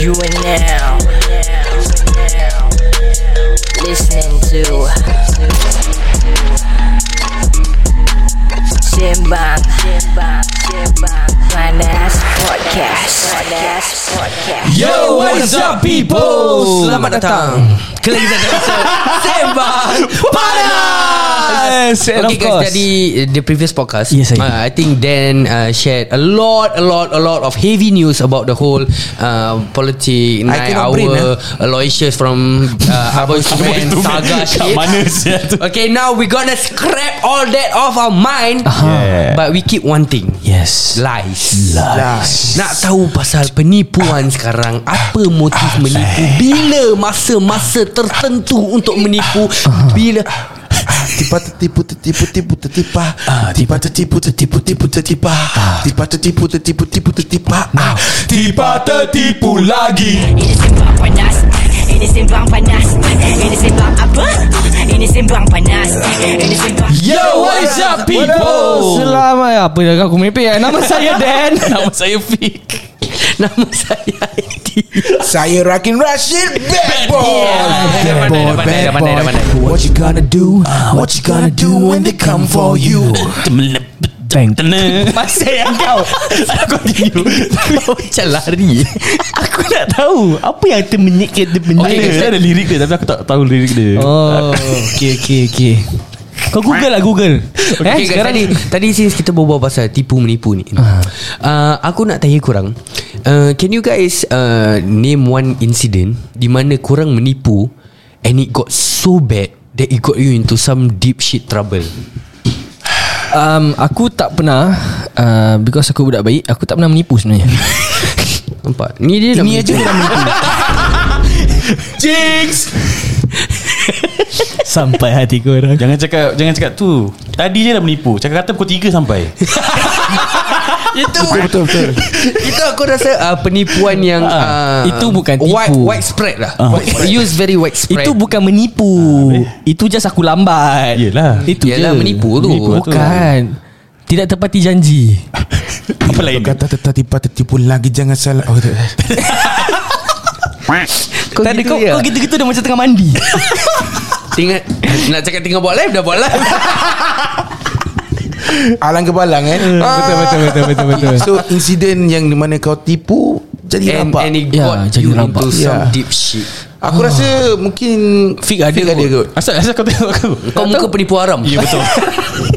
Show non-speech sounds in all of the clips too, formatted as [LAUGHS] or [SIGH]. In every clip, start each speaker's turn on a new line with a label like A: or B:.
A: You are now listening to Simbang Panas Podcast. Panas Podcast.
B: Yo, what is up people? Selamat datang Kali lagi satu episode
C: [LAUGHS]
B: Sembang Panas
D: And
B: Okay
D: of
B: guys
D: course.
B: Jadi uh, The previous podcast
D: Yes, I-
B: uh, I think Dan uh, shared A lot A lot A lot of heavy news About the whole uh, Politic Night
D: cannot
B: hour
D: breathe, eh.
B: Aloysius from uh,
D: [LAUGHS]
B: Aboys to Man Saga shit
D: Mana sia tu
B: Okay now we gonna Scrap all that Off our mind
D: Yeah.
B: But we keep one thing
D: Yes
B: Lies Nak tahu pasal
D: Ah.
B: penipuan sekarang Apa motif menipu Bila masa-masa tertentu untuk menipu Bila
C: Tipa tertipu tertipu tipu tertipa Tipa tertipu tertipu tipu tertipa Tipa tertipu tertipu tipu Ah, tertipa
D: Tiba tertipu lagi
E: Ini sembang panas Ini sembang panas Ini sembang apa? Ini sembang panas Ini sembang
D: Yo, what is up people?
F: Selamat Apa yang aku mimpi eh? Nama saya Dan
D: [LAUGHS] Nama saya Fik
B: Nama saya
D: [LAUGHS]
B: Aidi
C: Saya Rakin Rashid Bad
D: Oh, Bad boy, bad boy
C: What you gonna do Ah, What you gonna do When they come for you
D: Bang
F: Masih yang kau Aku tiru
D: [LAUGHS]
B: Macam lari
F: Aku nak tahu Apa yang termenyik ke termenyik
B: Okay,
D: Okay,
B: guys.
D: saya ada lirik dia Tapi aku tak tahu lirik dia
F: Oh Okay okay okay Kau google lah google
B: Okay, eh, sekarang ni Tadi since kita berbual pasal Tipu menipu ni
F: Ah.
B: uh, Aku nak tanya korang uh, Can you guys uh, Name one incident Di mana korang menipu And it got so bad That it got you into some Deep shit trouble
F: um, Aku tak pernah uh, Because aku budak baik Aku tak pernah menipu sebenarnya
B: [LAUGHS] Nampak Ni dia Ini aja
F: Sampai hati korang
D: Jangan cakap Jangan cakap tu Tadi je dah menipu Cakap kata pukul 3 sampai
B: Itu betul, betul, [LAUGHS] Itu aku rasa uh, Penipuan yang uh,
F: Ah, itu bukan tipu.
B: wide, Widespread lah
D: Ah.
B: Widespread. Used very widespread
F: Itu bukan menipu Itu just aku lambat
D: Yelah.
F: Itu
B: Yelah,
F: je
B: menipu tu.
F: Bukan Tidak tepati janji
D: Apa lain
C: Kata tertipa tertipu lagi Jangan salah Oh, tak-
B: Kau
F: Tadi
B: gitu
F: kau,
B: ya?
F: kau gitu-gitu dah macam tengah mandi
B: Tinggal Nak cakap tinggal buat live Dah buat live
C: Alang kebalang eh
F: Betul betul betul betul betul.
C: So insiden yang di mana kau tipu Jadi
B: And, and
C: nampak
B: it
F: Ya,
B: got
F: jadi
B: you
F: rabak.
B: into some
C: Ya.
B: deep shit
C: Aku rasa mungkin
B: Fik ada
C: Fik ada
B: kot.
C: kot
D: Asal, asal kau tengok aku
B: Kau muka penipu haram
D: Ya betul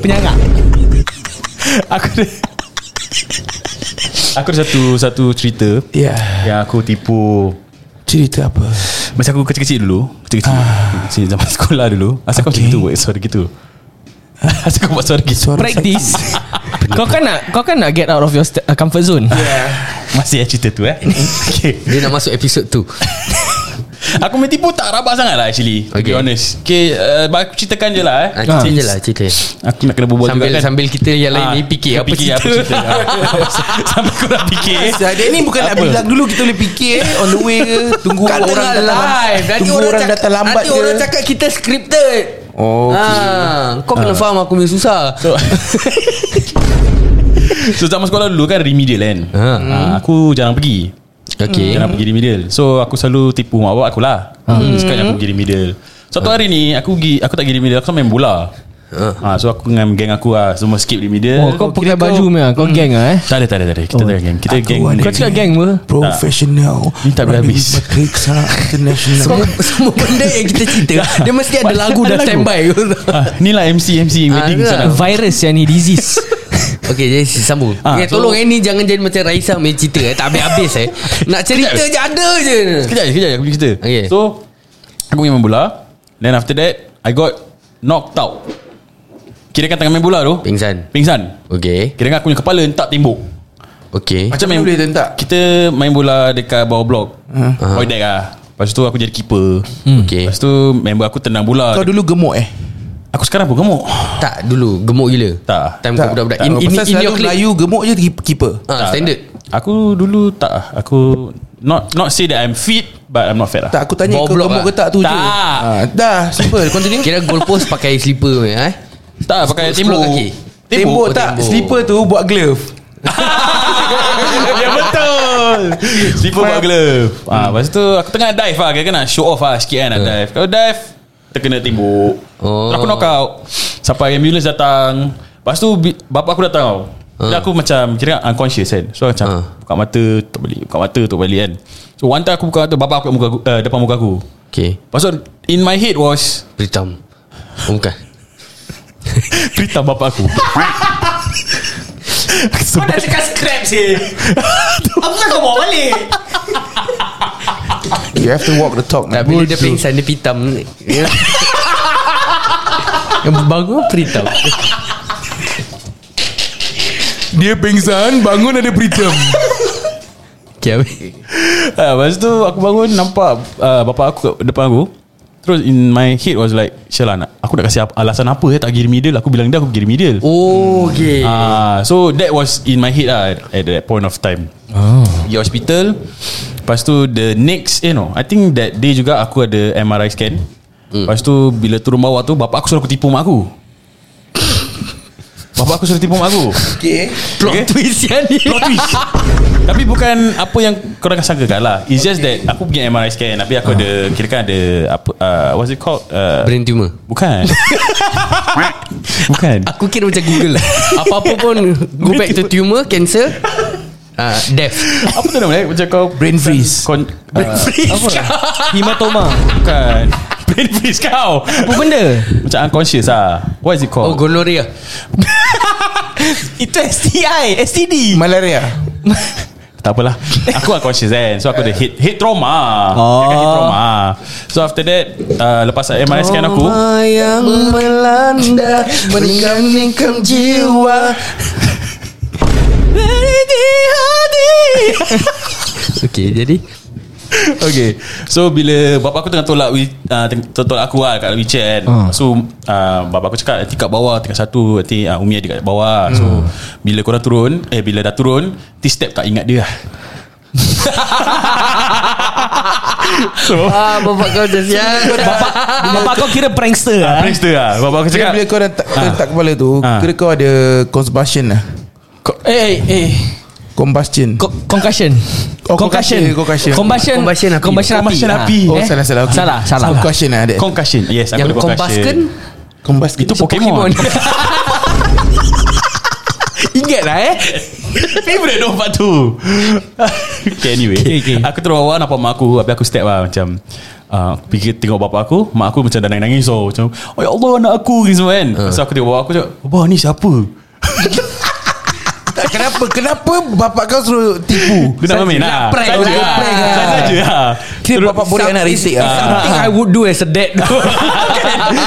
F: Penyangga.
D: Aku ada Aku ada satu Satu cerita
C: Ya
D: Yang aku tipu
C: Cerita apa
D: Masa aku kecil-kecil dulu Kecil-kecil Kecil zaman sekolah dulu Asal kau macam
C: Okay.
D: gitu buat Suara gitu [LAUGHS] Asal kau buat suara gitu
C: Suara
F: Practice
D: [LAUGHS]
F: Kau kan nak Kau kan nak get out of your st- uh, comfort zone
D: Masih eh cerita [LAUGHS] tu eh Okay
B: Dia nak masuk episod tu
D: Aku main tipu tak rabak sangat lah actually To be
B: Okay.
D: honest Okay uh, but Aku ceritakan je lah eh
B: ah, Cerita je lah cerita
D: Aku nak kena berbual
B: Sambil,
D: juga kan
B: sambil kita yang lain
D: Ah,
B: ni Fikir apa
D: fikir
B: cerita, [LAUGHS]
D: Sambil kau nak fikir
C: Dah, Dia ni bukan nak
D: Apa?
C: bilang dulu Kita boleh fikir eh, On the way ke Tunggu
B: Kat
C: orang
B: tengah
C: datang
B: live
C: lambat
B: Nanti lah.
C: Tunggu
B: orang,
C: orang,
B: cakap,
C: datang lambat
B: Nanti
C: ke
B: orang cakap kita scripted
C: Oh
B: ah, Kau kena faham aku punya susah
D: So,
B: [LAUGHS]
D: so zaman sekolah dulu kan remedial kan
B: Ha.
D: Ah, Aku jarang pergi
B: Okay
D: Jangan pergi di middle So aku selalu tipu mak bapak aku lah hmm. Sekarang aku pergi di middle Suatu hari ni Aku pergi, aku tak pergi di middle Aku main bola ha, So aku dengan geng aku lah Semua skip di middle
F: Oh kau pakai baju meh Kau
B: Hmm.
F: gang lah eh
D: Tak ada tak ada tak ada Kita tak ada geng Kita geng
C: ada
F: Kau cakap gang apa
C: Professional
D: Ni tak boleh habis.
C: Berkiksa International
B: [LAUGHS] semua, semua benda yang kita
F: [LAUGHS]
B: cerita Dia mesti ada lagu dah
D: Ada lagu.
B: standby
D: ah, Ni lah MC MC
B: Ah,
D: meeting
B: ni
D: so
B: lah.
D: nak-
F: Virus yang ni
B: [LAUGHS]
F: Disease
B: Okay jadi sambung
D: Ah,
B: okay,
D: so-
B: Tolong eh ni Jangan jadi macam Raisa punya cerita eh. Tak habis-habis
F: [LAUGHS]
B: eh Nak cerita je ada je
D: Sekejap je, sekejap je, aku punya cerita
B: Okay.
D: So Aku pergi main bola Then after that I got Knocked out Kira kan tengah main bola tu
B: Pingsan
D: Pingsan
B: Okay
D: Kira kan aku punya kepala Hentak tembok
B: Okay
D: Macam
C: Macam mana
D: main
C: boleh Hmm. tentak?
D: Kita main bola dekat bawah blok. Uh. Void deck lah. Lepas tu aku jadi keeper.
B: Okay.
D: Lepas tu member aku tendang bola.
C: Kau dulu gemuk eh
D: aku sekarang pun gemuk.
F: Ah.
B: Tak dulu Gemuk gila
D: Tak.
B: Time kau budak-budak
C: Tak,
B: In, in,
C: pasal
B: in your
C: selalu
B: clip
C: Melayu gemuk je Keeper
B: ah, Standard
D: Aku dulu tak ah. Aku not not say that I'm fit but I'm not fat lah.
C: Tak aku tanya
B: Bawah
C: kau
B: blok
C: gemuk
B: lah.
C: ke tak tu je
D: Tak.
C: Ah, Dah simple Continue
B: Kira goalpost pakai slipper punya, eh
D: tak pakai
B: Sepuluh
D: tembok.
B: kaki.
C: Tembok
B: Oh,
C: tak
B: tembok.
D: [LAUGHS]
C: Slipper tu buat glove
D: ya betul. Slipper buat glove ah, Lepas tu Aku tengah dive lah Kira-kira nak show off lah Sikit kan nak dive Kalau dive Terkena timbuk
B: Oh.
D: oh. Aku knock out Sampai ambulance datang Lepas tu bi- Bapak aku datang tau Dan aku macam Kira unconscious kan So macam
B: Ah.
D: Buka mata Tak balik Buka mata tak balik kan So one time aku buka mata Bapak aku kat muka aku, uh, depan muka aku
B: Okay
D: Lepas tu In my head was [LAUGHS]
B: Pritam Oh bukan
D: Pritam bapak aku
G: Kau dah cakap scrap sih Apa kau bawa balik
C: You have to walk the talk
B: Tak
C: man.
B: bila dia pingsan Dia pitam
F: Ya.
B: [LAUGHS] Yang bangun Pritam
C: Dia pingsan Bangun ada pritam
B: [LAUGHS] Okay habis
D: [LAUGHS] Ah, Lepas tu aku bangun Nampak uh, Bapak aku kat depan aku Terus in my head was like Syah lah nak, Aku nak kasih apa- alasan apa eh, Tak pergi remedial Aku bilang dia aku pergi remedial oh.
B: Oh okay
D: Ah, so that was in my head lah at, at that point of time. Oh. Di hospital. Lepas tu the next, you know, I think that day juga aku ada MRI scan. Mm. Lepas tu bila turun bawah tu bapak aku suruh aku tipu mak aku. bapak aku suruh tipu mak aku.
C: Okay
B: Plot
D: Okay.
B: twist yang ni
D: Plot twist ya, [LAUGHS] Tapi bukan Apa yang Korang sangkakan lah It's just that Aku pergi MRI scan Tapi aku ada Kira kan ada apa, uh, What's it called uh,
B: Brain tumor
D: [LAUGHS] Bukan Bukan
B: Aku kira macam Google
F: [LAUGHS]
B: lah Apa-apa pun Go back to tumor Cancer uh, Death
D: Apa tu nama dia Macam kau
C: Brain freeze
D: kon, Brain
B: [LAUGHS]
D: freeze
F: Apa? Hematoma
D: Bukan [LAUGHS] Brain freeze kau
F: Apa benda
D: Macam unconscious lah What is it
B: Oh
D: called
B: gonorrhea
F: [LAUGHS] Itu STI STD
C: Malaria
D: Tak apalah Aku unconscious kan So aku ada head, head trauma
F: Oh.
D: Kira-kira Head trauma So after that uh, Lepas MRI scan aku
B: Trauma yang melanda Meninggalkan jiwa Di hati Okay jadi
D: Okay So bila Bapak aku tengah tolak wheel- uh, teng- Tolak aku lah Kat wheelchair kan uh. So uh, Bapak aku cakap Nanti kat bawah Tingkat satu Nanti uh, Umi ada kat bawah So Bila korang turun Eh bila dah turun Nanti step tak ingat dia lah So
B: Ah, bapak kau dah siap
F: Bapak, bapak kau kira prankster lah
D: Prankster lah Bapak aku
C: Kira
D: cakap
C: bila kau letak, kau
D: Ah.
C: letak kepala tu
D: Ah.
C: Kira kau ada Combustion lah
F: Eh eh eh
C: Combustion
F: Co- Concussion
C: Oh, concussion, concussion.
F: Combustion
B: Combustion api.
F: Combustion api,
D: Combustion
F: Ah.
D: api.
C: Oh
F: Eh?
C: salah salah okay.
F: Salah salah
C: Combustion lah ada
D: Concussion Yes aku
B: Yang
D: ada concussion
B: kombaskan
C: Combustion
D: kan? Itu Pokemon, Pokemon.
F: Ingat lah eh
D: [LAUGHS]
C: Oh.
D: Favorite nombor tu [LAUGHS] Okay anyway okay, okay. Aku terus awal nampak mak aku Habis aku step lah macam uh, Fikir tengok bapak aku Mak aku macam dah nangis-nangis so, Macam Oh ya Allah anak aku ni semua kan uh. So aku tengok bapak aku cakap Bapak ni siapa?
C: Kenapa Kenapa bapak kau suruh
F: [LAUGHS]
C: tipu
D: Dia nak main lah
F: prank
D: Saja
F: lah.
D: lah
F: Prank lah.
D: Saja lah
C: Kira bapak boleh anak risik
F: ah.
B: It's
C: lah
B: something I would do as a dad
D: [LAUGHS]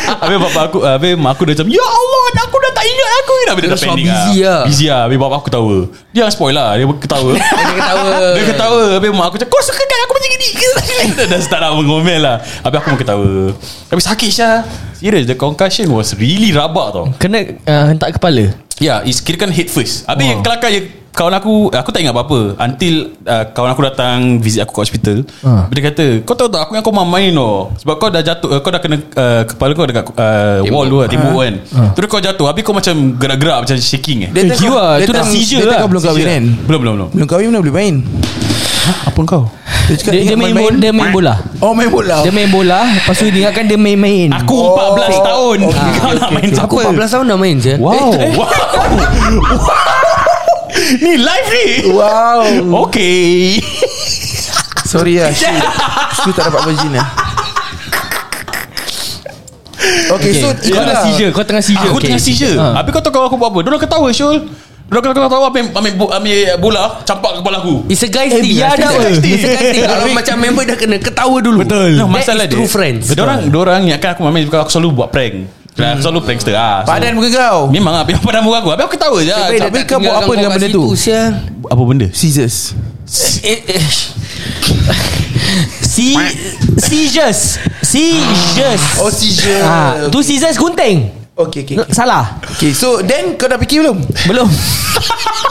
D: Habis bapak aku Habis mak aku dah macam Ya Allah anak Aku dah tak ingat aku ni." Habis dia dah
B: Terus
D: panik
B: awak busy lah.
D: Busy lah Habis bapak aku ketawa Dia yang spoil lah Dia ketawa
B: [LAUGHS] Dia ketawa
D: Dia ketawa Habis mak aku cakap Kau suka kan aku macam gini [LAUGHS] ke?" Dah- Dah start nak mengomel lah Habis aku pun ketawa Tapi sakit Syah Serious The concussion was really rabak tau
F: Kena uh, hentak kepala
D: Ya yeah, It's kira kan head first Habis yang kelakar je Kawan aku Aku tak ingat apa-apa Until uh, Kawan aku datang Visit aku kat hospital
C: Ha.
F: Ah.
D: Dia kata Kau tahu tak Aku yang kau main-main tau Sebab kau dah jatuh uh, Kau dah kena uh, Kepala kau dekat uh, Wall tu lah
C: Ha.
D: Tembok kan Terus kau jatuh Habis kau macam Gerak-gerak macam shaking eh
C: Dia
F: Eh, jiwa,
C: dia
F: tu dah
C: tengok-
F: seizure
C: Dia
F: lah.
C: tengok belum kahwin
D: Seizure.
C: kan
D: Belum belum belum
C: Belum kahwin mana boleh main
D: Apa kau
C: Dia cakap
F: Dia, dia,
C: ingat
F: main, main, dia main bola
C: Oh main bola
F: Dia main bola Lepas tu dia ingatkan dia main-main
D: Aku
C: Oh,
D: 14 tahun
C: okay,
D: [LAUGHS] Kau nak main
B: Aku
D: siapa
B: 14 tahun dah main je
D: Wow. wow. ni live
C: [LAUGHS]
D: ni.
C: Wow
D: Okay.
C: Sorry
F: [LAUGHS]
C: lah Shu Shu tak dapat virgin lah Okay, so
F: Kau tengah
C: itulah.
F: seizure Kau tengah seizure
D: Aku okay. tengah seizure.
F: Ha.
D: Ha. Habis kau tahu kau aku buat apa? Diorang ketawa Syul. Diorang ketawa ketawa ambil, ambil, bo- ambil bola campak kepala aku.
B: It's a guys thing
F: Eh,
B: lah.
F: biar
B: It's a
F: dah
B: guys
F: apa? [LAUGHS]
B: thing. It's a guys thing Kalau macam member dah kena Ketawa dulu Betul
D: No,
B: That is true friends
D: Diorang, diorang ingatkan aku main aku selalu buat prank. Hmm. Aku selalu prankster ah.
C: Padan muka kau
D: Memang lah Pada muka aku Habis aku ketawa je
B: Baik, dah
C: Tapi
B: tak
C: kau buat
B: tinggalkan
C: apa dengan
B: kau kat
C: benda tu?
B: situ,
F: [LAUGHS]
B: Syah. Eh,
D: Apa benda?
C: Scissors
F: Si Seizures Seizures
C: Oh seizure
F: Ah, Tu seizures gunting
C: Okay okay okay.
F: Salah
C: okay so then kau dah fikir belum?
F: [LAUGHS] Belum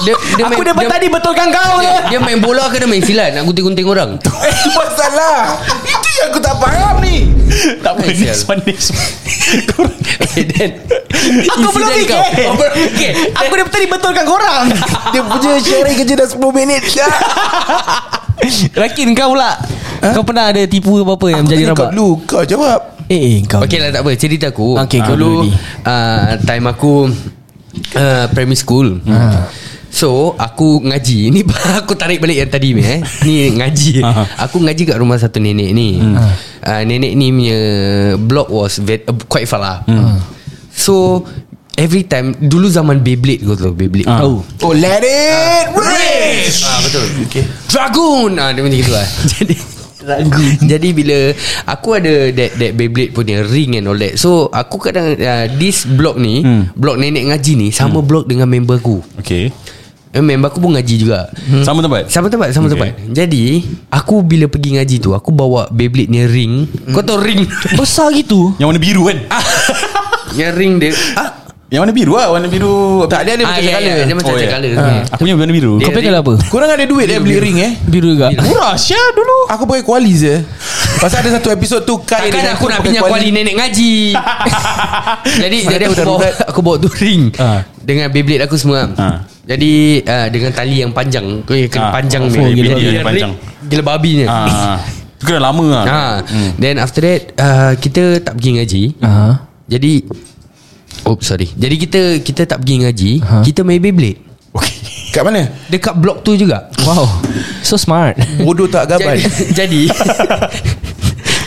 B: Dia, dia
F: Aku
B: main-
F: dapat
B: dia-
F: tadi betulkan kau je
B: Dia main bola ke dia main silat Nak gunting-gunting
F: [LAUGHS]
B: orang
C: Eh masalah Itu yang aku tak faham ni
D: [LAUGHS] Tak apa Next one Next one Korang
B: Okay then
F: Aku belum
B: Insiden
F: [LAUGHS] fikir
B: Eh, kau. Oh, belum fikir.
C: [LAUGHS]
F: Aku dah tadi betulkan korang
C: Ah. Dia punya sharing kerja dah 10 minit dah
F: Rakin kau pula ha? Kau pernah ada tipu apa-apa Yang
C: Aku
F: menjadi
C: tanya kau
F: rabak
C: dulu Kau jawab
F: Eh eh kau
B: Okay lah tak apa Cerita aku
F: Okay,
B: Ah,
F: kau
B: Dulu
F: dulu ni.
B: uh, Time aku uh, Primary school So Aku ngaji [LAUGHS] Ni aku tarik balik yang tadi ni eh. Ni ngaji Aku ngaji kat rumah satu nenek ni uh, Nenek ni punya Block was vet, uh, Quite far lah So Every time Dulu zaman Beyblade kau tahu Beyblade
D: Ah.
B: Tahu
C: Oh let it rage
B: Ah betul. Okay. Dragoon. Ah dia macam gitu lah. [LAUGHS] Jadi Dragoon. Jadi bila aku ada that that Beyblade punya ring and all that. So aku kadang uh, this blog ni, hmm. blog nenek ngaji ni sama hmm. blog dengan member aku.
D: Okay
B: Eh, member aku pun ngaji juga. Hmm.
D: Sama tempat
B: Sama tempat Sama
D: Okay.
B: tempat Jadi Aku bila pergi ngaji tu Aku bawa Beyblade ni ring hmm. Kau tahu ring
F: Besar gitu
D: Yang warna biru kan
B: [LAUGHS] Yang ring dia ah,
D: Yang warna biru lah Warna biru
C: Tak dia ada
B: ah, ya,
C: macam
B: ya,
C: cakap
B: Dia macam oh,
D: Oh, ya.
B: cakap yeah.
D: Ah, Aku punya warna biru
B: Dia-
F: Kau
B: ring.
F: pegang apa
C: Korang ada duit eh Beli ring eh
F: Biru juga
D: Murah Syah ya, dulu
C: Aku pakai kuali je Pasal ada satu episod tu Kai
B: Takkan
C: dengan
B: aku nak
C: pakai
B: pinjam kuali nenek ngaji Jadi jadi aku bawa, aku bawa tu ring
D: Ah.
B: Dengan Beyblade aku semua
D: Ah.
B: Jadi uh, dengan tali yang panjang Kau kena
D: Ah.
B: panjang
D: Oh,
B: punya.
D: gila
B: Bila
D: babi.
B: dia
D: Yang
B: ring,
D: panjang.
B: Gila babinya
D: Ah, Itu kena lama lah
B: ah. Then after that uh, Kita tak pergi ngaji
F: Ah.
B: Jadi Oh sorry Jadi kita kita tak pergi ngaji
F: Ah.
B: Kita main Beyblade
C: Kat mana?
B: Dekat blok tu juga
F: Wow So smart
C: Bodoh tak gaban
B: Jadi, [LAUGHS] jadi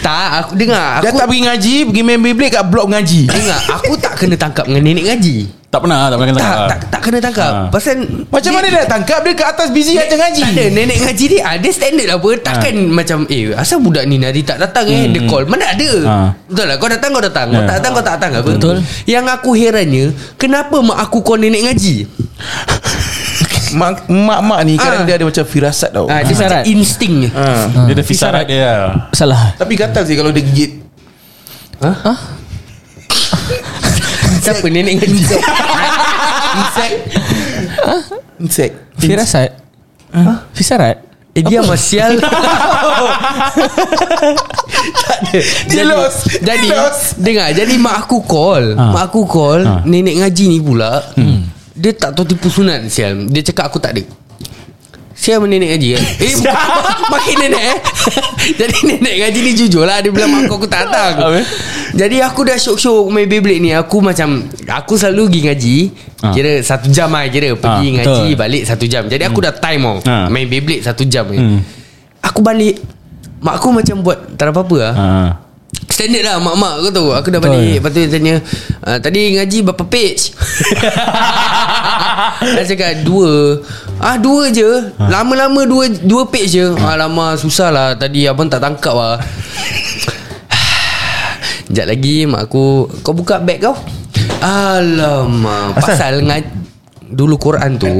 B: Tak aku dengar
C: Dia
B: aku,
C: tak pergi ngaji Pergi main Beyblade kat blok ngaji
B: Dengar Aku tak kena tangkap Dengan nenek ngaji
D: Tak pernah Tak pernah kena
B: tak, tak, tak kena tangkap
D: Ah.
B: Pasal
C: Macam mana dia nak tangkap Dia kat atas busy Macam
B: [LAUGHS]
C: ngaji Ah.
B: Tak ada Nenek ngaji dia Ada standard lah apa Takkan macam Eh asal budak ni Nari tak datang eh
C: Hmm,
B: Dia call Mana ada
D: Ah.
B: Betul lah Kau datang kau datang Kau
D: Ya.
C: Ah.
B: tak datang kau tak datang apa? Betul Yang aku herannya Kenapa mak aku call nenek ngaji
C: Mak- Mak-mak ni
B: Ah.
C: Kadang dia ada macam firasat tau
B: ah, Dia
F: Fisarat.
B: macam insting
C: Ah.
D: Dia ada fisarat dia lah.
F: Salah
C: Tapi gatal sih Kalau dia gigit
B: Siapa nenek ngaji
C: Insek Insek
F: Firasat Hah? Fisarat
B: Eh dia
D: [LAUGHS]
B: masial
C: Dia lost
B: Jadi
C: Dia lost
B: Dengar Jadi mak aku call
D: Ah.
B: Mak aku call
D: Ah. Hmm.
B: Nenek ngaji ni pula Dia tak tahu tipu sunat Sial Dia cakap aku tak ada Sial sama nenek ngaji kan Eh [LAUGHS] bukan Makin nenek eh [LAUGHS] Jadi nenek ngaji ni jujur lah Dia bilang mak aku aku tak datang
D: Habis?
B: Jadi aku dah syok-syok main Beyblade ni Aku macam Aku selalu pergi ngaji
D: Ah.
B: Kira satu jam lah kira Pergi
D: Ah,
B: ngaji
D: betul.
B: balik satu jam Jadi aku dah time tau
D: Ah.
B: Main Beyblade satu jam je
D: Hmm.
B: Aku balik Mak aku macam buat Tak ada apa-apa lah
D: Ah.
B: Standard lah mak-mak kau tahu Aku dah balik Lepas tu dia tanya "Ah, Tadi ngaji berapa page? Dia cakap dua Ah dua je Lama-lama dua dua page je Alamak susah lah Tadi abang tak tangkap lah [SIGHS] Sekejap lagi mak aku Kau buka beg kau Alamak Pasal, Pasal ngaji Dulu Quran tu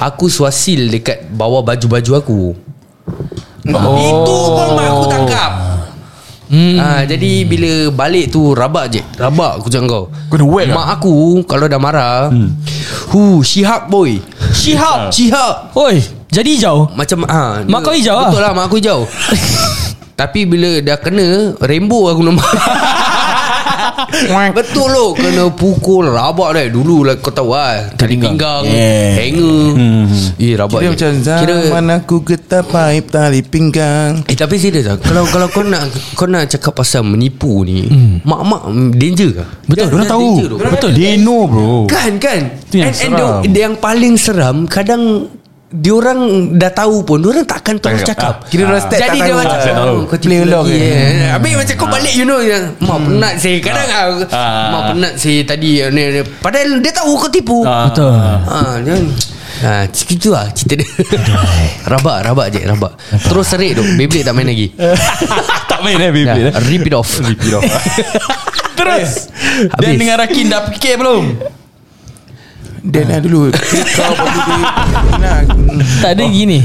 B: Aku suasil dekat bawah baju-baju aku Itu pun mak aku tangkap Hmm. Ha, jadi bila balik tu rabak je. Rabak aku cakap kau.
D: Kena whack
B: Mak aku kalau dah marah, lah. hmm. hu shihab boy. Shihab, shihab.
F: Oi Jadi hijau
B: Macam ha,
F: Mak
B: dia-
F: kau hijau lah.
B: Betul lah mak aku
F: [LAUGHS]
B: hijau. Tapi bila dah kena Rainbow aku [LAUGHS] nama Betul lo Kena pukul Rabak dah Dulu lah kau tahu lah Tali pinggang yeah. Hanger hmm. Eh rabak
C: Dia
B: je.
C: macam Zaman aku getah paip Tali pinggang
B: Eh tapi serius lah Kalau kalau kau nak Kau nak cakap pasal menipu ni hmm. Mak-mak mm, danger ke?
D: Betul
B: Dia-
D: Diorang
B: dia
D: tahu
B: danger tu.
D: Betul They know bro
B: Kan kan
D: Itu yang
B: And, and the,
D: seram.
B: the yang paling seram Kadang Diorang dah tahu pun Diorang tak akan terus cakap
C: Kira orang step tak
B: Jadi dia
C: tahu.
B: macam
D: Ah, tak tahu.
B: oh, Kau
C: Play
B: tipu
C: along
B: lagi
C: je.
B: eh. Habis macam kau balik You know yang, Mak penat saya Kadang ah,
D: Ah.
B: Mak penat saya tadi ni, ni. Padahal dia tahu kau tipu
D: Ah.
F: Betul
B: Ah, dia Ha, gitu lah cerita dia [LAUGHS] Rabak, rabak je, rabak Terus serik tu, Beyblade tak main lagi
D: Tak main eh Beyblade
B: Dah,
D: eh.
B: Ya, rip it off Rip [LAUGHS] it off
D: Terus Dan
B: Habis.
D: dengan Rakin dah fikir belum
C: Dan lah dulu Kau pergi di Nah
F: Tak ada gini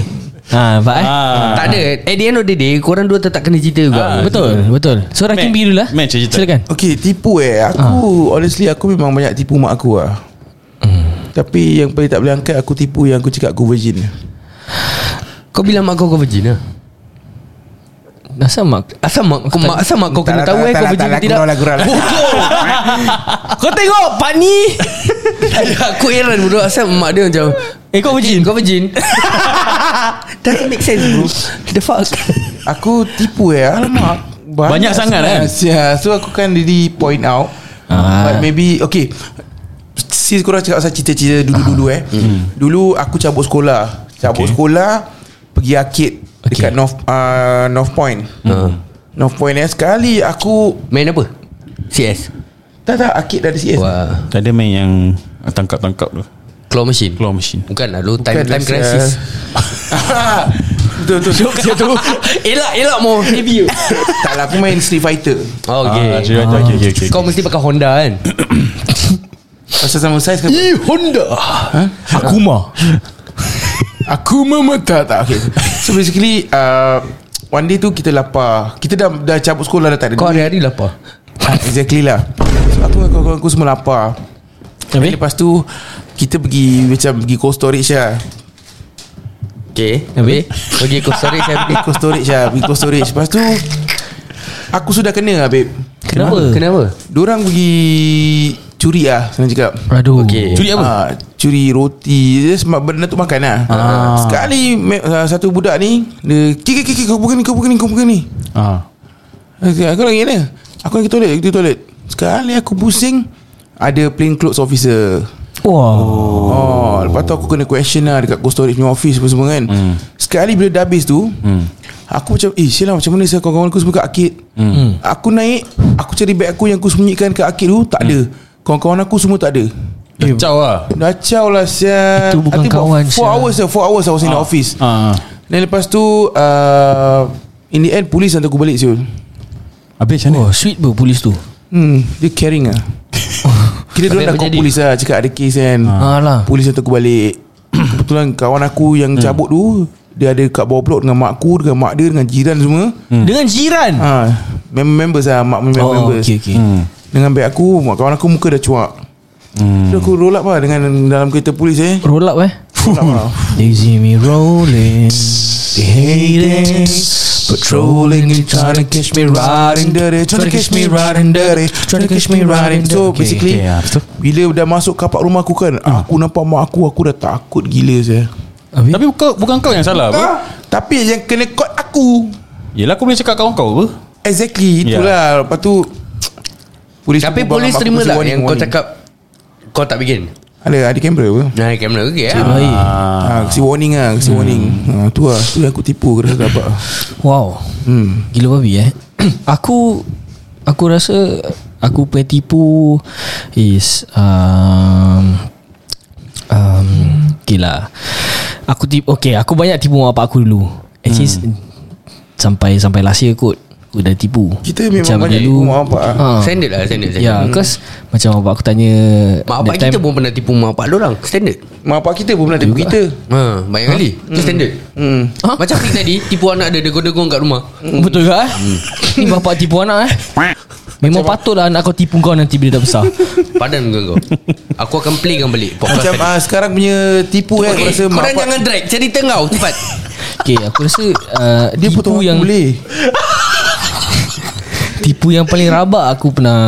F: Ha Pak eh
D: ah.
B: Tak ada At the end of the day Korang dua tetap kena cerita juga
D: Ah,
F: Betul Betul So Rakim
D: Mac,
F: biru lah
D: Mac je cerita.
F: Silakan
C: Okay tipu eh Aku
D: Ah.
C: honestly Aku memang banyak tipu mak aku lah
D: Hmm.
C: Tapi yang paling tak boleh angkat Aku tipu yang aku cakap aku virgin
B: Kau bilang mak kau kau virgin lah
F: Asal mak
B: Asal mak kau, mak, asal mak kau
F: lah,
C: lah,
B: kena tahu eh Kau virgin ke tidak
C: Gurau
B: [LAUGHS]
C: lah
F: Kau tengok Pak ni
B: Aku heran bodoh Kan, Asal mak dia macam
F: Eh, kau virgin?
B: Kau virgin Doesn't make sense bro The fuck
C: Aku tipu eh Alamak
D: Banyak sangat, eh?
C: sebenarnya. Ya So aku kan really point out
F: Ah.
C: But maybe Okay Sis korang cakap pasal cita-cita dulu-dulu
D: Ah.
C: eh
D: Hmm.
C: Dulu aku cabut sekolah Cabut
D: Okay.
C: sekolah Pergi arcade Dekat North uh, North Point
D: Hmm.
C: North Point eh Sekali aku
B: Ah. Main apa? CS
C: Tak tak arcade dah ada CS
B: Wah
D: Tadi main yang Tangkap-tangkap tu
B: Claw machine
D: Claw machine
B: Bukan lah Lu time,
C: Bukan
B: time
C: lah,
B: crisis
C: [LAUGHS] Betul betul Joke dia
B: [LAUGHS]
C: tu
B: Elak elak mo Heavy
C: Tak lah aku main Street Fighter
B: Oh
D: Ah,
B: okay.
D: Street Fighter, okay, okay, okay.
B: Kau mesti pakai Honda kan
C: Pasal sama saiz kan
F: Honda
C: Ha? [LAUGHS]
F: Akuma
C: Aku memetak tak okay. So basically uh, One day tu kita lapar Kita dah dah cabut sekolah dah tak ada
B: Kau
C: duit.
B: hari-hari lah, lapar
C: Ah, Exactly lah So aku dengan kawan-kawan aku semua lapar
B: Eh?
C: Habis? Lepas tu Kita pergi Macam pergi cold storage lah
B: Okay Habis Pergi ke storage saya
C: Pergi cold storage lah Pergi cold storage Lepas tu Aku sudah kena lah babe
B: Kenapa? Kenapa?
C: Diorang pergi Curi lah Senang cakap
F: Aduh
B: Okay.
D: Curi apa?
C: Ah, curi roti Dia sebab benda tu makan lah ah. Sekali me- ah, Satu budak ni Dia Kiki kiki kau bukan ni Kau bukan ni Kau bukan ni Eh,
D: Ah.
C: Aku aku lagi ni Aku pergi toilet Aku pergi toilet Sekali aku pusing Ada plain clothes officer
F: Wah
C: Oh. oh Lepas tu aku kena question lah Dekat ghost storage punya office Apa semua kan mm. Sekali bila dah habis tu mm.
D: Hmm.
C: Aku macam Eh sialah macam mana Saya kawan-kawan aku semua kat arcade
D: Hmm.
F: Hmm.
C: mm. Aku naik Aku cari beg aku Yang aku sembunyikan kat arcade tu Tak mm.
D: Hmm.
C: ada Kawan-kawan aku semua tak ada
D: Kacau lah
C: Kacau lah sial
F: Itu bukan
C: I think about
F: kawan,
C: Four
F: sial.
C: hours lah Four hours I was in the office
D: ah.
C: Then lepas tu uh, In the end Polis hantar aku balik siul
D: Habis macam mana?
F: Wah sweet bro polis tu
C: Hmm Dia caring
F: [LAUGHS]
C: lah Kira dia
B: Habis
C: dah
B: apa
C: call
B: jadi?
C: polis lah Cakap ada kes kan
F: Ah lah.
C: Polis hantar aku
F: [COUGHS]
C: balik Kebetulan kawan aku
F: Hmm.
C: yang cabut tu Dia ada kat bawah blok Dengan mak aku Dengan mak dia Dengan jiran semua
F: Dengan jiran
C: ha, mem- Members lah Mak mem-
F: Oh
C: members
F: okay okay
D: Hmm.
C: Dengan beg aku mak Kawan aku muka dah cuak hmm. So aku roll up lah Dengan dalam kereta polis eh
F: Roll up eh
C: Roll up lah
F: They see me rolling They hate it
C: Patrolling and trying to catch me riding dirty Trying eh. to catch me riding dirty Trying to catch me riding dirty So
F: Okay, ya,
C: basically
D: okay, ah, betul.
C: Bila dah masuk kapak rumah aku kan Aku nampak mak aku Aku dah takut gila saya
F: Habis?
D: Tapi kau, bukan kau yang salah apa?
C: Tapi yang kena kot aku
D: Yelah aku boleh cakap kawan kau apa?
C: Exactly Itulah Lepas tu Polis
B: Tapi
C: aku
B: polis
C: bang, aku
B: terima
C: kasi
B: lah
C: warning,
B: Yang kau
C: warning.
B: cakap Kau tak bikin
C: Ada ada kamera apa
B: Nah kamera okay
F: Cik
B: lah
F: baik
C: Ah, kasi warning lah Kasi warning ah, Tu lah Tu yang aku tipu Kena dapat
F: Wow hmm. Gila babi eh [CLEARS THROAT] Aku Aku rasa Aku punya tipu Is um, um, Okay lah Aku tipu Okay aku banyak tipu mak bapak aku dulu Actually hmm. Sampai Sampai last year kot Aku dah tipu
C: Kita memang banyak tipu mak bapak ah.
F: ha.
B: Standard lah Standard, standard.
F: Ya yeah, cause Macam mak bapak aku tanya
B: Mak bapak
F: that
B: kita pun pernah tipu Mak bapak orang Standard
C: Mak bapak kita pun pernah tipu kita
B: ha, Banyak kali Itu standard
C: hmm.
F: Ha?
B: Macam ni tadi Tipu anak dia Degong-degong kat rumah
F: Betul ke eh
B: Hmm.
F: Ni bapak tipu anak eh
B: [LAUGHS]
F: Memang patutlah anak kau tipu kau nanti bila dah besar
B: [LAUGHS] Padan muka kau Aku akan playkan balik
C: Macam
B: Podcast tadi
C: ah, sekarang punya tipu eh, Aku
B: Okay,
C: rasa
B: korang
C: mak bapak-
B: jangan drag Cerita kau cepat
F: Okay aku rasa uh,
C: Dia
F: tipu
C: potong yang
F: yang
C: boleh
F: Tipu yang paling rabak Aku pernah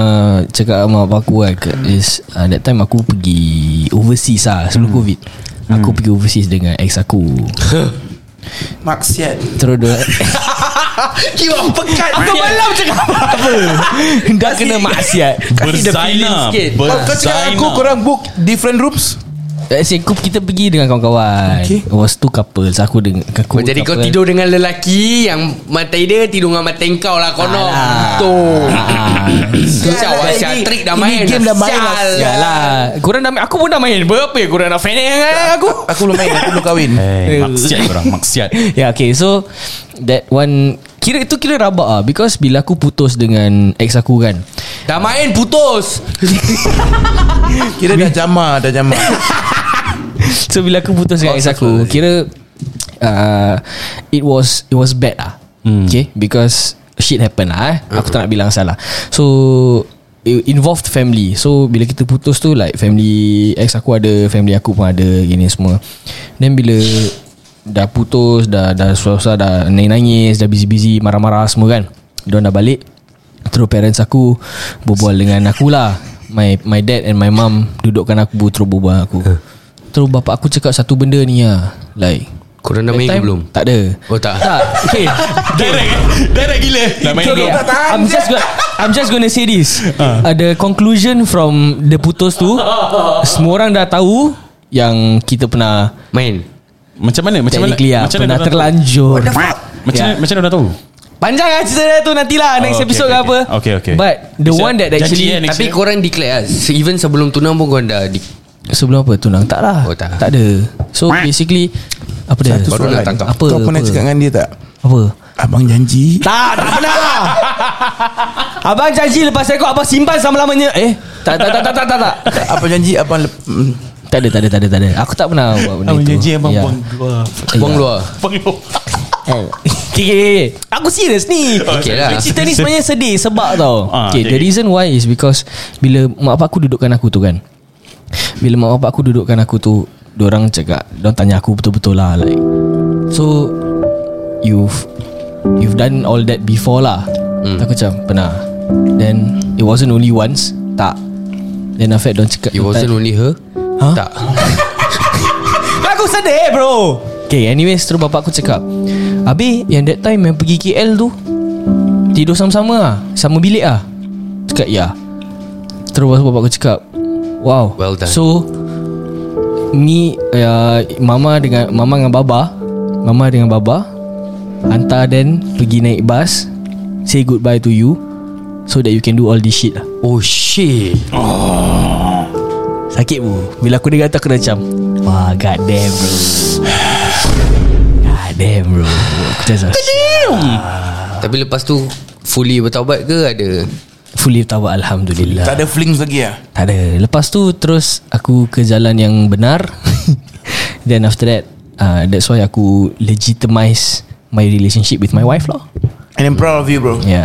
F: Cakap sama abang aku kan ke- Is uh, That time aku pergi Overseas lah Sebelum
C: Hmm.
F: covid Aku pergi overseas dengan ex aku
C: [LAUGHS] Maksiat
F: Terus dia
C: [LAUGHS]
B: Kiwa pekat Kau malam cakap
F: Dah kena maksiat
D: Berzainab
B: sikit.
C: Kau kau cakap dengan aku Korang book different rooms
F: Actually aku kita pergi dengan kawan-kawan
C: Okay.
F: okay. Was two couples Aku dengan aku
B: Jadi kau
F: couple.
B: tidur dengan lelaki Yang matai dia Tidur dengan matai kau lah Kono
F: Alah.
B: Tu
F: Ah.
B: Sial lah Sial Trik dah main
F: Ini game dah main lah
B: Sial
F: Sial lah Korang dah main Aku pun dah
B: Eh,
F: main Berapa
B: ya
F: yang korang nak fan dengan aku
C: Aku belum main Aku belum kahwin
D: Eh, [LAUGHS] maksiat korang Maksiat
F: [LAUGHS] Ya yeah, okay so That one Kira itu kira rabak ah Because bila aku putus dengan Ex aku kan
B: Dah main putus
C: Kira dah jama Dah jama
F: [LAUGHS] So bila aku putus dengan ex aku Kira uh, It was It was bad lah hmm. Okay Because Shit happen lah eh. Aku tak nak bilang salah So it Involved family So bila kita putus tu Like family Ex aku ada Family aku pun ada Gini semua Then bila Dah putus Dah dah susah Dah nangis-nangis Dah busy-busy Marah-marah semua kan Diorang dah balik Terus parents aku Berbual dengan aku lah My my dad and my
B: Ha.
F: mum Dudukkan aku Terus berbual dengan aku Terus bapak aku cakap satu benda ni lah Like
B: Korang dah main ke
F: Time-
B: belum?
F: Tak ada
B: Oh, tak.
F: Tak Okay
D: Direct eh? Direct gila Dah [LAUGHS] main
F: Okay,
D: belum
F: okay. I'm just gonna, I'm just gonna say this.
D: Ha.
F: Uh. the conclusion from the putus tu, semua orang dah tahu yang kita pernah
B: Main
D: Macam mana Macam mana
F: technically lah,
D: macam
F: pernah
D: mana korang
F: terlanjur.
D: tahu? Macam
F: Yeah.
D: mana Macam mana dah tahu
F: Panjang lah cerita dia tu nantilah oh, next
D: okay,
F: okay, episode
D: okay,
F: okay, ke
D: okay.
F: apa.
D: Okay, okay.
F: But the
D: Bisa-
F: one that
D: janji,
F: actually
D: eh, next
B: Tapi
D: year.
B: korang declare lah Se- Even sebelum tunang pun korang dah di-
F: sebelum apa tunang tak lah.
B: Oh, tak.
F: tak ada. So basically apa dia?
C: Satu
B: Baru
C: soalan
B: nak tangkap.
F: Apa?
C: Kau pernah
F: apa?
C: cakap dengan dia tak
F: Apa?
C: Abang janji
F: Tak, tak pernah. abang janji lepas rekod abang simpan selama-lamanya. Eh, tak tak tak tak tak tak. tak.
C: Abang janji Abang lep- mm.
F: Tak ada, tak ada, tak ada, tak ada. Aku tak pernah buat benda
D: Abang
F: tu.
D: janji abang
F: Ya.
D: buang keluar
B: Buang luar
D: Buang keluar
F: Okay, okay, okay. Aku serius ni
B: Okay lah.
F: Cerita ni sebenarnya sedih Sebab tau
D: Ah,
F: okay,
D: okay,
F: The
D: okay.
F: reason why is because Bila mak bapak aku dudukkan aku tu kan Bila mak bapak aku dudukkan aku tu Diorang cakap Diorang tanya aku betul-betul lah Like So You've You've done all that before lah hmm. Aku macam Pernah Then It wasn't only once Tak Then after that diorang cakap
B: It wasn't only her
F: Huh?
B: Tak
F: Aku sedih bro Okay anyways Terus bapak aku cakap Habis yang that time Yang pergi KL tu Tidur sama-sama lah Sama bilik lah Cakap ya Terus bapak aku cakap Wow
B: Well done.
F: So Ni uh, Mama dengan Mama dengan Baba Mama dengan Baba Hantar then Pergi naik bus Say goodbye to you So that you can do all this shit lah
B: Oh shit
F: Sakit bu Bila aku dengar tu aku dah macam Wah god damn bro God damn bro Aku dah macam
B: Tapi lepas tu Fully bertaubat ke ada
F: Fully tawa Alhamdulillah
C: Tak ada flings lagi lah
F: Tak ada Lepas tu terus Aku ke jalan yang benar [LAUGHS] Then after that uh, That's why aku Legitimize My relationship with my wife lah
C: And I'm proud of you bro
F: Yeah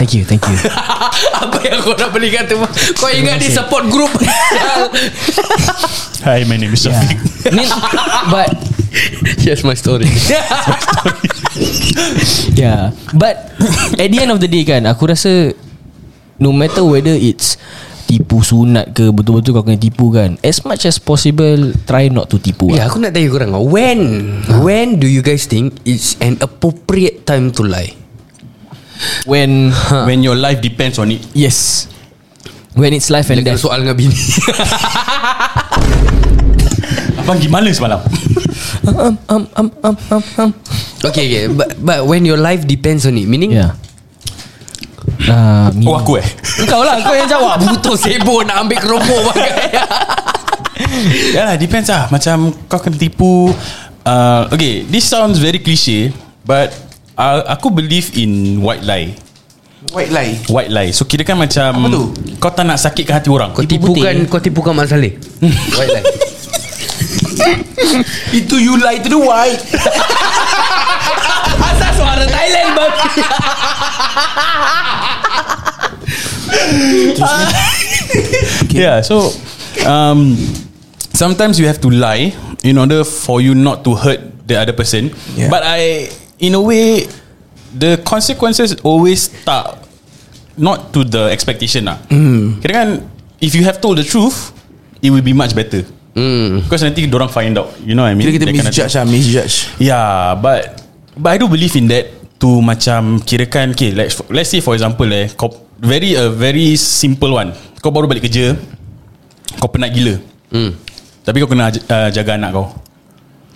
F: Thank you Thank you
B: [LAUGHS] Apa yang kau nak belikan tu Kau ingat dia support group [LAUGHS]
D: Hi my name is
F: I
D: Syafiq [LAUGHS]
F: mean, But
B: Yes my story
F: Yeah Ya, But [COUGHS] At the end of the day kan Aku rasa No matter whether it's Tipu sunat ke Betul-betul kau kena tipu kan As much as possible Try not to tipu
B: Ya
F: lah.
B: aku nak tanya korang When When do you guys think It's an appropriate time to lie Ha.
F: When
D: When your life depends on it
F: Yes When it's life and
B: Bila
F: death
B: soal dengan [LAUGHS] bini
D: Abang gimana semalam
F: um, um, um, um, um.
B: Okay okay but, but when your life depends on it Meaning
F: Yeah uh,
D: Oh aku eh
F: Kau lah Kau yang
B: [LAUGHS]
F: jawab
B: Butuh sebo nak ambil [LAUGHS] keropok pakai
D: Yalah depends lah Macam kau kena tipu uh, Okay This sounds very cliche But uh, Aku believe in white lie
C: White lie
D: White lie So kira kan
C: Apa
D: macam
C: tu?
D: Kau tak nak sakitkan hati orang
B: Kau tipukan Kau tipukan Mak Saleh White lie
C: Itu you lie to the white
F: Asal suara Thailand bang
D: Yeah so um, Sometimes you have to lie In order for you not to hurt The other person
C: Yeah.
D: But I In a way The consequences always tak Not to the expectation lah mm. Kira kan If you have told the truth It will be much better mm. Because nanti orang find out You know what I mean
C: Kira kita
D: That kind of
C: misjudge lah Misjudge
D: Yeah, Ya, but but I do believe in that to macam kirakan okay, let's let's say for example eh kau very a very simple one. Kau baru balik kerja, kau penat gila. Hmm. Tapi kau kena uh, jaga anak kau.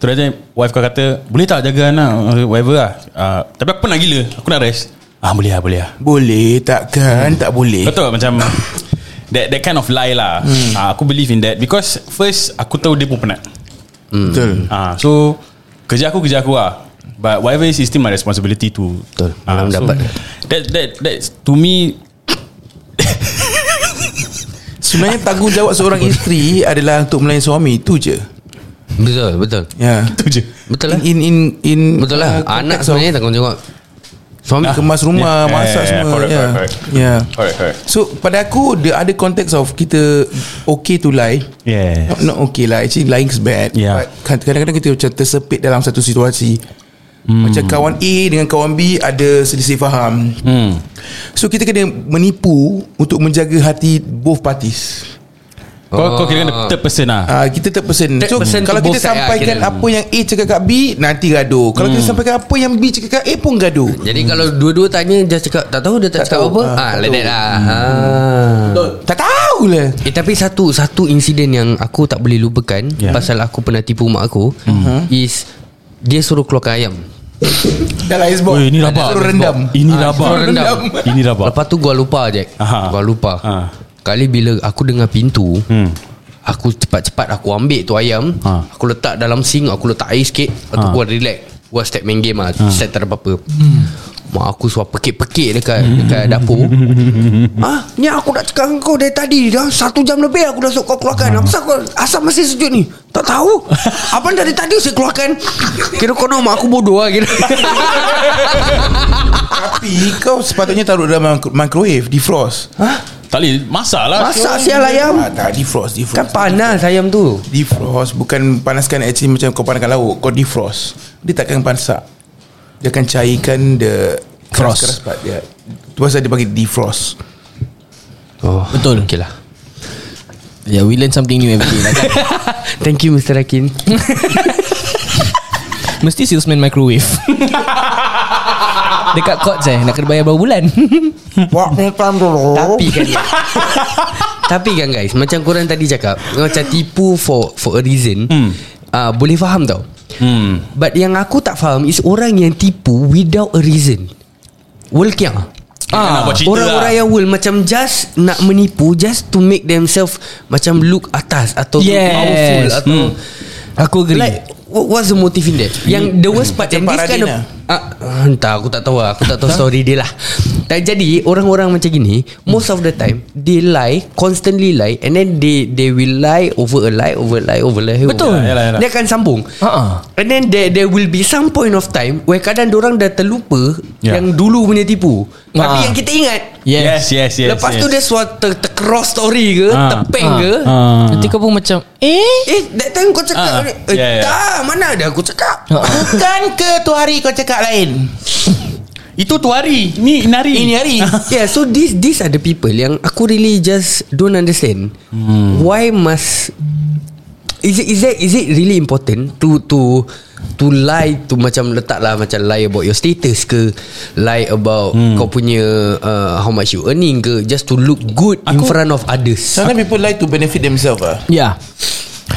D: Terus dia wife kau kata, "Boleh tak jaga anak Uh, whatever lah." Uh, tapi aku penat gila, aku nak rest. Ah, boleh lah, boleh lah.
C: Boleh takkan Tak boleh
D: Eh. Kau tahu tak macam [LAUGHS] that that kind of lie lah. Hmm. Uh, aku believe in that because first aku tahu dia pun penat.
C: Betul
D: Ah, so kerja aku kerja aku lah. But whatever is it's still my responsibility to Ah,
B: Betul, malam dapat.
D: That that that to me
C: Sebenarnya tanggungjawab seorang isteri Adalah untuk melayan suami Itu je
B: Betul betul
C: Ya
D: tu je.
B: Betul lah
C: In in in, in
B: Betul lah
C: uh,
B: Anak
C: konteks
B: sebenarnya tanggungjawab Suami
C: of Kemas rumah
D: Ah. Yeah,
C: Masak
D: yeah,
C: semua
D: correct,
C: Ya
D: correct, correct.
C: yeah.
D: Correct, correct.
C: So pada aku The other context of Kita Okay to lie
D: Yeah.
C: Not, not okay lah Actually lying is bad
D: Yeah.
C: But kad- kadang-kadang kita macam Tersepit dalam satu situasi hmm. Macam kawan A Dengan kawan B Ada selisih faham hmm. So kita kena menipu Untuk menjaga hati Both parties
D: Kau, kau kira kan third person lah
C: Ah, kita third person.
B: Third
C: so,
B: person
C: kalau
B: to both
C: kita
B: side lah,
C: sampaikan
B: kira.
C: apa yang A cakap kat B, nanti gaduh. Kalau
D: Hmm.
C: kita sampaikan apa yang B cakap kat A pun gaduh.
B: Jadi kalau dua-dua tanya Dia cakap Tak tahu dia tak,
C: Tak
B: cakap
C: tahu.
B: apa Ah,
C: Ah, tak
B: Like
C: tahu.
B: that lah Ah.
C: Tak tahulah.
B: Eh tapi satu Satu insiden yang Aku tak boleh lupakan yeah. Pasal aku pernah tipu mak aku uh-huh. Is Dia suruh keluarkan ayam lah,
C: Dalam Xbox.
D: Oi, ni rabak.
C: Suruh rendam.
D: Ini
B: Ah,
D: rabak
B: suruh rendam.
D: Ini rabak
B: Lepas tu gua lupa je
D: Aha.
B: Gua lupa
D: Ah.
B: Kali bila aku dengar pintu
D: Hmm.
B: Aku cepat-cepat Aku ambil tu ayam
D: Ah.
B: Aku letak dalam sink Aku letak air sikit Lepas tu
D: Ah.
B: gua relax Gua step main game lah
D: Ha.
B: Step tak ada apa-apa
D: Hmm.
B: Mak aku suruh pekik-pekik dekat,
D: [LAUGHS]
B: dekat dapur Ah, ni aku dah cakap dengan kau dari tadi dah satu jam lebih aku dah suruh kau
D: Ha.
B: keluarkan. Apa kau asam masih sejuk ni? Tak tahu. Abang dari tadi saya keluarkan. Kira kau nak mak aku bodoh lah kira.
C: Tapi kau sepatutnya taruh dalam micro- microwave, defrost.
D: Tak boleh Masak lah
B: Masak sial ayam.
C: Ah, tak, defrost, defrost.
B: Kan panas ayam tu.
C: Defrost bukan panaskan actually macam kau panaskan lauk. Kau defrost. Dia takkan pasak. Dia akan cairkan the
D: Frost.
C: keras-keras part dia. Tu pasal dia panggil defrost.
B: Oh, betul. Okay lah.
F: Yeah ya, we learn something new every day lah kan
B: Thank you Mr. Rakin.
F: [LAUGHS] Mesti salesman microwave [LAUGHS] Dekat Courts eh Nak kena bayar berapa bulan [LAUGHS]
B: Tapi kan guys. Tapi kan guys, macam korang tadi cakap, macam tipu for for a reason. Hmm. Uh, boleh faham tau.
D: Hmm
B: But yang aku tak faham is orang yang tipu without a reason. Wolkiah.
D: nak buat cerita
B: orang-orang
D: lah.
B: yang world macam just nak menipu just to make themselves macam look atas atau
F: Yes.
B: look powerful atau
D: Hmm.
F: Aku agree
B: like what- what's the motive in that? Yang the worst part and
C: Pak
B: this kind
C: Radin
B: of
C: lah.
B: ah, entah aku tak tahu lah. aku tak tahu story dia lah. Tak jadi orang-orang macam gini most of the time they lie constantly lie and then they they will lie over a lie over a lie over a lie. over a
F: Betul.
B: lie.
D: Yalah, yalah.
B: Dia akan sambung.
F: Ah,
B: And then there there will be some point of time where kadang orang dah terlupa
D: Yeah.
B: yeah. yang dulu punya tipu. Tapi
F: Ah.
B: yang kita ingat
F: Yes,
D: Yes yes yes
B: Lepas
D: yes.
B: tu dia suatu ter, tercross story ke
D: Ah.
B: Tepeng
F: Ah.
B: ke
D: Ah.
F: Nanti kau pun macam Eh
B: Eh that time kau
D: Ah.
B: cakap eh,
D: Yeah, yeah.
B: Tak mana ada aku cakap
F: Ah.
C: Bukan ke tu hari kau cakap lain?
D: Itu tu hari Ni nari
C: Ini
F: [LAUGHS]
C: hari.
B: [LAUGHS] Yeah so these these are the people Yang aku really just Don't understand hmm. Why must Is it, is it is it really important to to to lie to macam letaklah macam lie about your status ke lie about hmm. kau punya uh, how much you earning ke just to look good aku, in front of others.
C: Sometimes people like to benefit themselves ah.
F: Yeah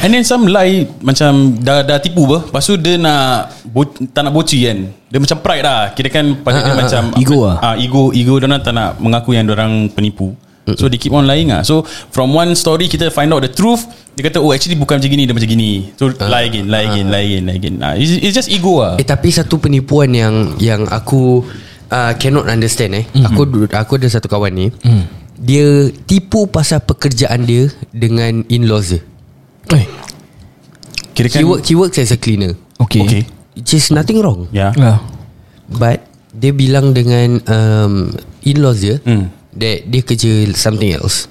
D: And then some lie Macam dah, dah tipu apa Lepas tu dia nak bo, Tak nak boci kan Dia macam pride lah Kira kan pada dia
B: ah,
D: macam
F: ah. Ego
D: ah
F: ah.
D: Ego Ego diorang tak nak Mengaku yang orang penipu So they keep on lying lah So from one story Kita find out the truth Dia kata oh actually bukan macam gini Dia macam gini So lie again Lie again Lie again, lie again. Ah, it's, it's just ego lah
B: Ah. Eh tapi satu penipuan yang yang aku uh, cannot understand eh. Mm-hmm. Aku du- aku ada satu kawan ni. Mm. Dia tipu pasal pekerjaan dia dengan in-laws dia.
F: Eh
D: Kira kan-
B: He, work, he works as a cleaner.
F: Okay,
D: Okay Ya.
B: Which is nothing wrong.
D: Yeah
F: yeah.
B: But dia bilang dengan um, in-laws dia
D: Mm.
B: that dia kerja something else.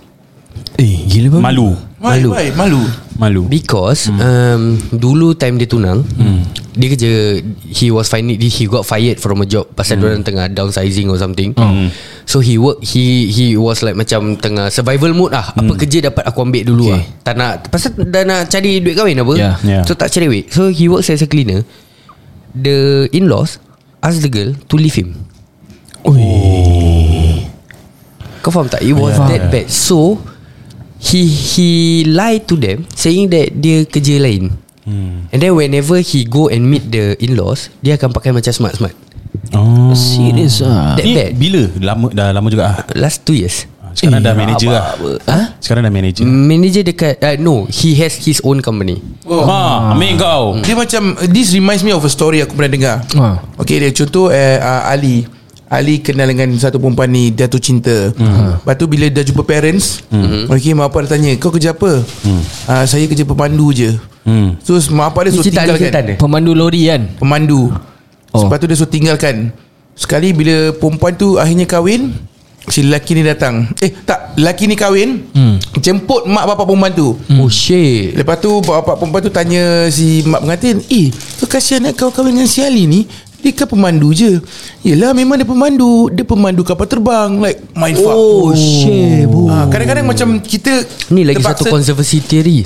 F: Eh gila bang
D: Malu
C: Why,
B: Malu.
C: malu. Why? Malu.
D: Malu
B: Because
F: Hmm.
B: um, dulu time dia tunang, dia kerja he was finally he got fired from a job pasal mm.
F: Hmm.
B: orang tengah downsizing or something. So he work he he was like macam tengah survival mode lah. Apa kerja dapat aku ambil dulu
F: Hmm. Okay.
B: lah. Tak nak pasal dah nak cari duit kahwin apa.
F: Yeah.
D: Yeah.
B: So tak cari duit. So he works as a cleaner. The in-laws ask the girl to leave him. Kau faham tak It was yeah. that bad So He he lied to them Saying that Dia kerja lain hmm. And then whenever He go and meet the in-laws Dia akan pakai macam smart-smart
D: oh.
F: Serious ah
B: That
D: Ni
B: bad
D: bila? Lama, dah lama juga ah.
B: Last two years
D: Sekarang
F: Eh, Hmm.
D: dah manager lah
B: Ah,
D: Sekarang dah manager
B: Manager dekat uh, No He has his own company
D: Oh. Ha, amin kau.
B: Mm.
C: Dia macam This reminds me of a story Aku pernah dengar
F: Ah.
C: Okay dia contoh eh, uh, Ali Ali kenal dengan satu perempuan ni Jatuh cinta uh-huh. Lepas tu bila dah jumpa parents uh-huh. Okay mak apa tanya Kau kerja apa uh, Saya kerja pemandu je
D: Hmm.
C: So mak apa dia suruh
B: cerita Ali Ketan
C: tinggalkan
B: eh?
F: Pemandu lori kan
C: Pemandu
F: Oh.
C: oh. Lepas tu dia suruh tinggalkan Sekali bila perempuan tu Akhirnya kahwin Si lelaki ni datang Eh tak Lelaki ni kahwin hmm. Jemput mak bapak perempuan tu
B: Oh shit
C: Lepas tu bapak perempuan tu tanya eh si mak pengantin, "Eh, kau kasihan nak kau kahwin dengan si Ali ni? Dia Dia kan pemandu je Yelah memang dia pemandu Dia pemandu kapal terbang Like mindfuck
B: Oh, shit, bro.
C: ha, Kadang-kadang macam kita
B: Ni lagi satu
C: terpaksa-
B: conservancy theory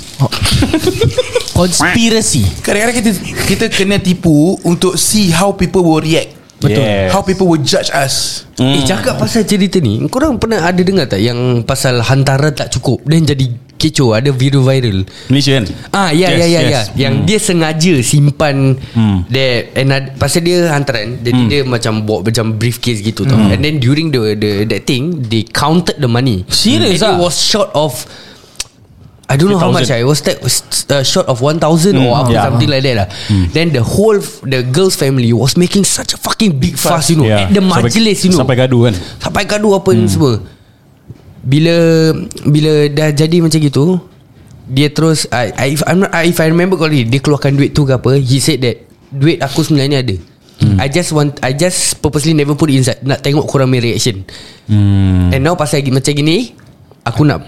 F: Conspiracy
C: Kadang-kadang kita kita kena tipu untuk see how people will react.
D: Betul. Yes.
C: How people will judge us.
D: Hmm.
B: Eh cakap pasal cerita ni Korang pernah ada dengar tak Yang pasal hantaran tak cukup Dan jadi kecoh Ada video viral
D: Malaysia kan
B: Ah ya yes, ya ya yes. ya yang hmm. dia sengaja simpan
D: Hmm.
B: hmm. that and ad- pasal dia hantaran jadi hmm. dia macam buat macam briefcase gitu tau and then during the the that thing they counted the money
F: Serious
B: and it
F: ah?
B: was short of I don't know how much
D: 3,000.
B: I was te- uh, short of 1000 or apa,
D: Yeah.
B: something like that lah. Then the whole f- the girl's family was making such a fucking big fuss you know
D: Yeah.
B: at Eh, the
D: Ya. Sampai-
B: majlis you know
D: Sampai gaduh kan
B: Sampai gaduh apa hmm. semua Bila Bila dah jadi macam gitu Dia terus I, I, if, I'm not, I, if I remember correctly Dia keluarkan duit tu ke apa He said that Duit aku sebenarnya ada hmm. I just want I just purposely never put it inside Nak tengok korang punya reaction hmm. And now pasal gi- macam gini Aku nak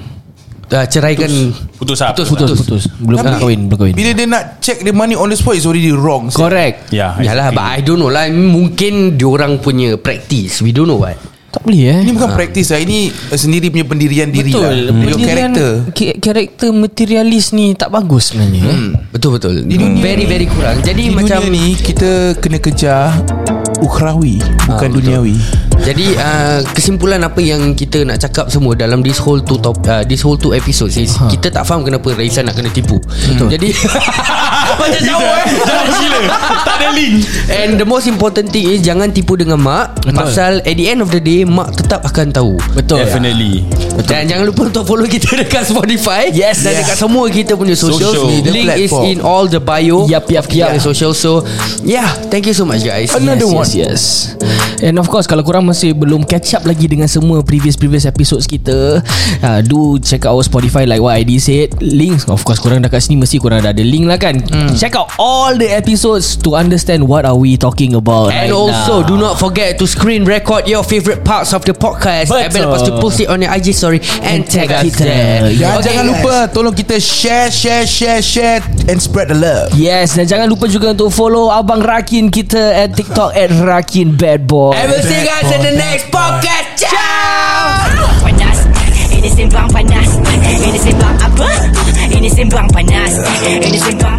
B: uh, Ceraikan
D: Putus lah
B: Putus Putus, putus.
F: Belum
C: Tapi,
F: pernah kahwin Belum kahwin
C: Bila dia nak check the money on the spot, it's already wrong. sir.
F: Correct
D: Ya
B: Yalah but I don't know lah Mungkin diorang punya practice We don't know what
F: Tak boleh eh
C: Ini
B: Ah.
C: bukan practice lah. Ini sendiri punya pendirian diri
F: Betul
C: lah. Your
F: pendirian-
C: character.
F: ka- Karakter materialis ni Tak bagus sebenarnya eh.
B: Hmm. Betul-betul Very very kurang Jadi
C: Di
B: macam
C: macam dunia ni, kita kena kejar ukrawi, bukan duniawi.
B: Jadi uh, kesimpulan apa yang kita nak cakap semua dalam this whole two top uh, this whole two episodes is ha. kita tak faham kenapa Raisa nak kena tipu. Hmm. [LAUGHS] Jadi macam jauh eh.
D: [LAUGHS] Gila Tak ada link
B: And the most important thing is jangan tipu dengan mak Betul. pasal at the end of the day mak tetap akan tahu.
F: Betul
D: Definitely
B: Betul. Dan jangan lupa untuk follow kita dekat Spotify yes, dan yes. dekat semua kita punya social.
D: Social.
B: Link
C: Media
B: is
C: platform.
B: in all the bio.
F: Yup, yup,
B: of kita
F: yup.
B: punya Social. So yeah, thank you so much guys.
F: yes, Yes, yes. And of course kalau korang masih belum catch up lagi dengan semua previous-previous episodes kita, uh, do check out our Spotify like what ID said. Links of course korang dah kat sini mesti korang dah ada link lah kan. Check out all the episodes to understand what are we talking about.
B: And
F: right
B: also
F: now.
B: do not forget to screen record your favorite parts of the podcast
F: Betul.
B: and lepas tu post it on your IG story and, and tag us
F: kita.
B: there.
C: Dan jangan lupa tolong kita share, share, share, share and spread the love.
F: Yes dan jangan lupa juga untuk follow Abang Rakin kita at TikTok at Rakin Bad Boy.
B: I will see you guys in the next podcast. Ciao.
E: Sembang panas Ini sembang panas Ini sembang apa? Ini sembang panas Ini sembang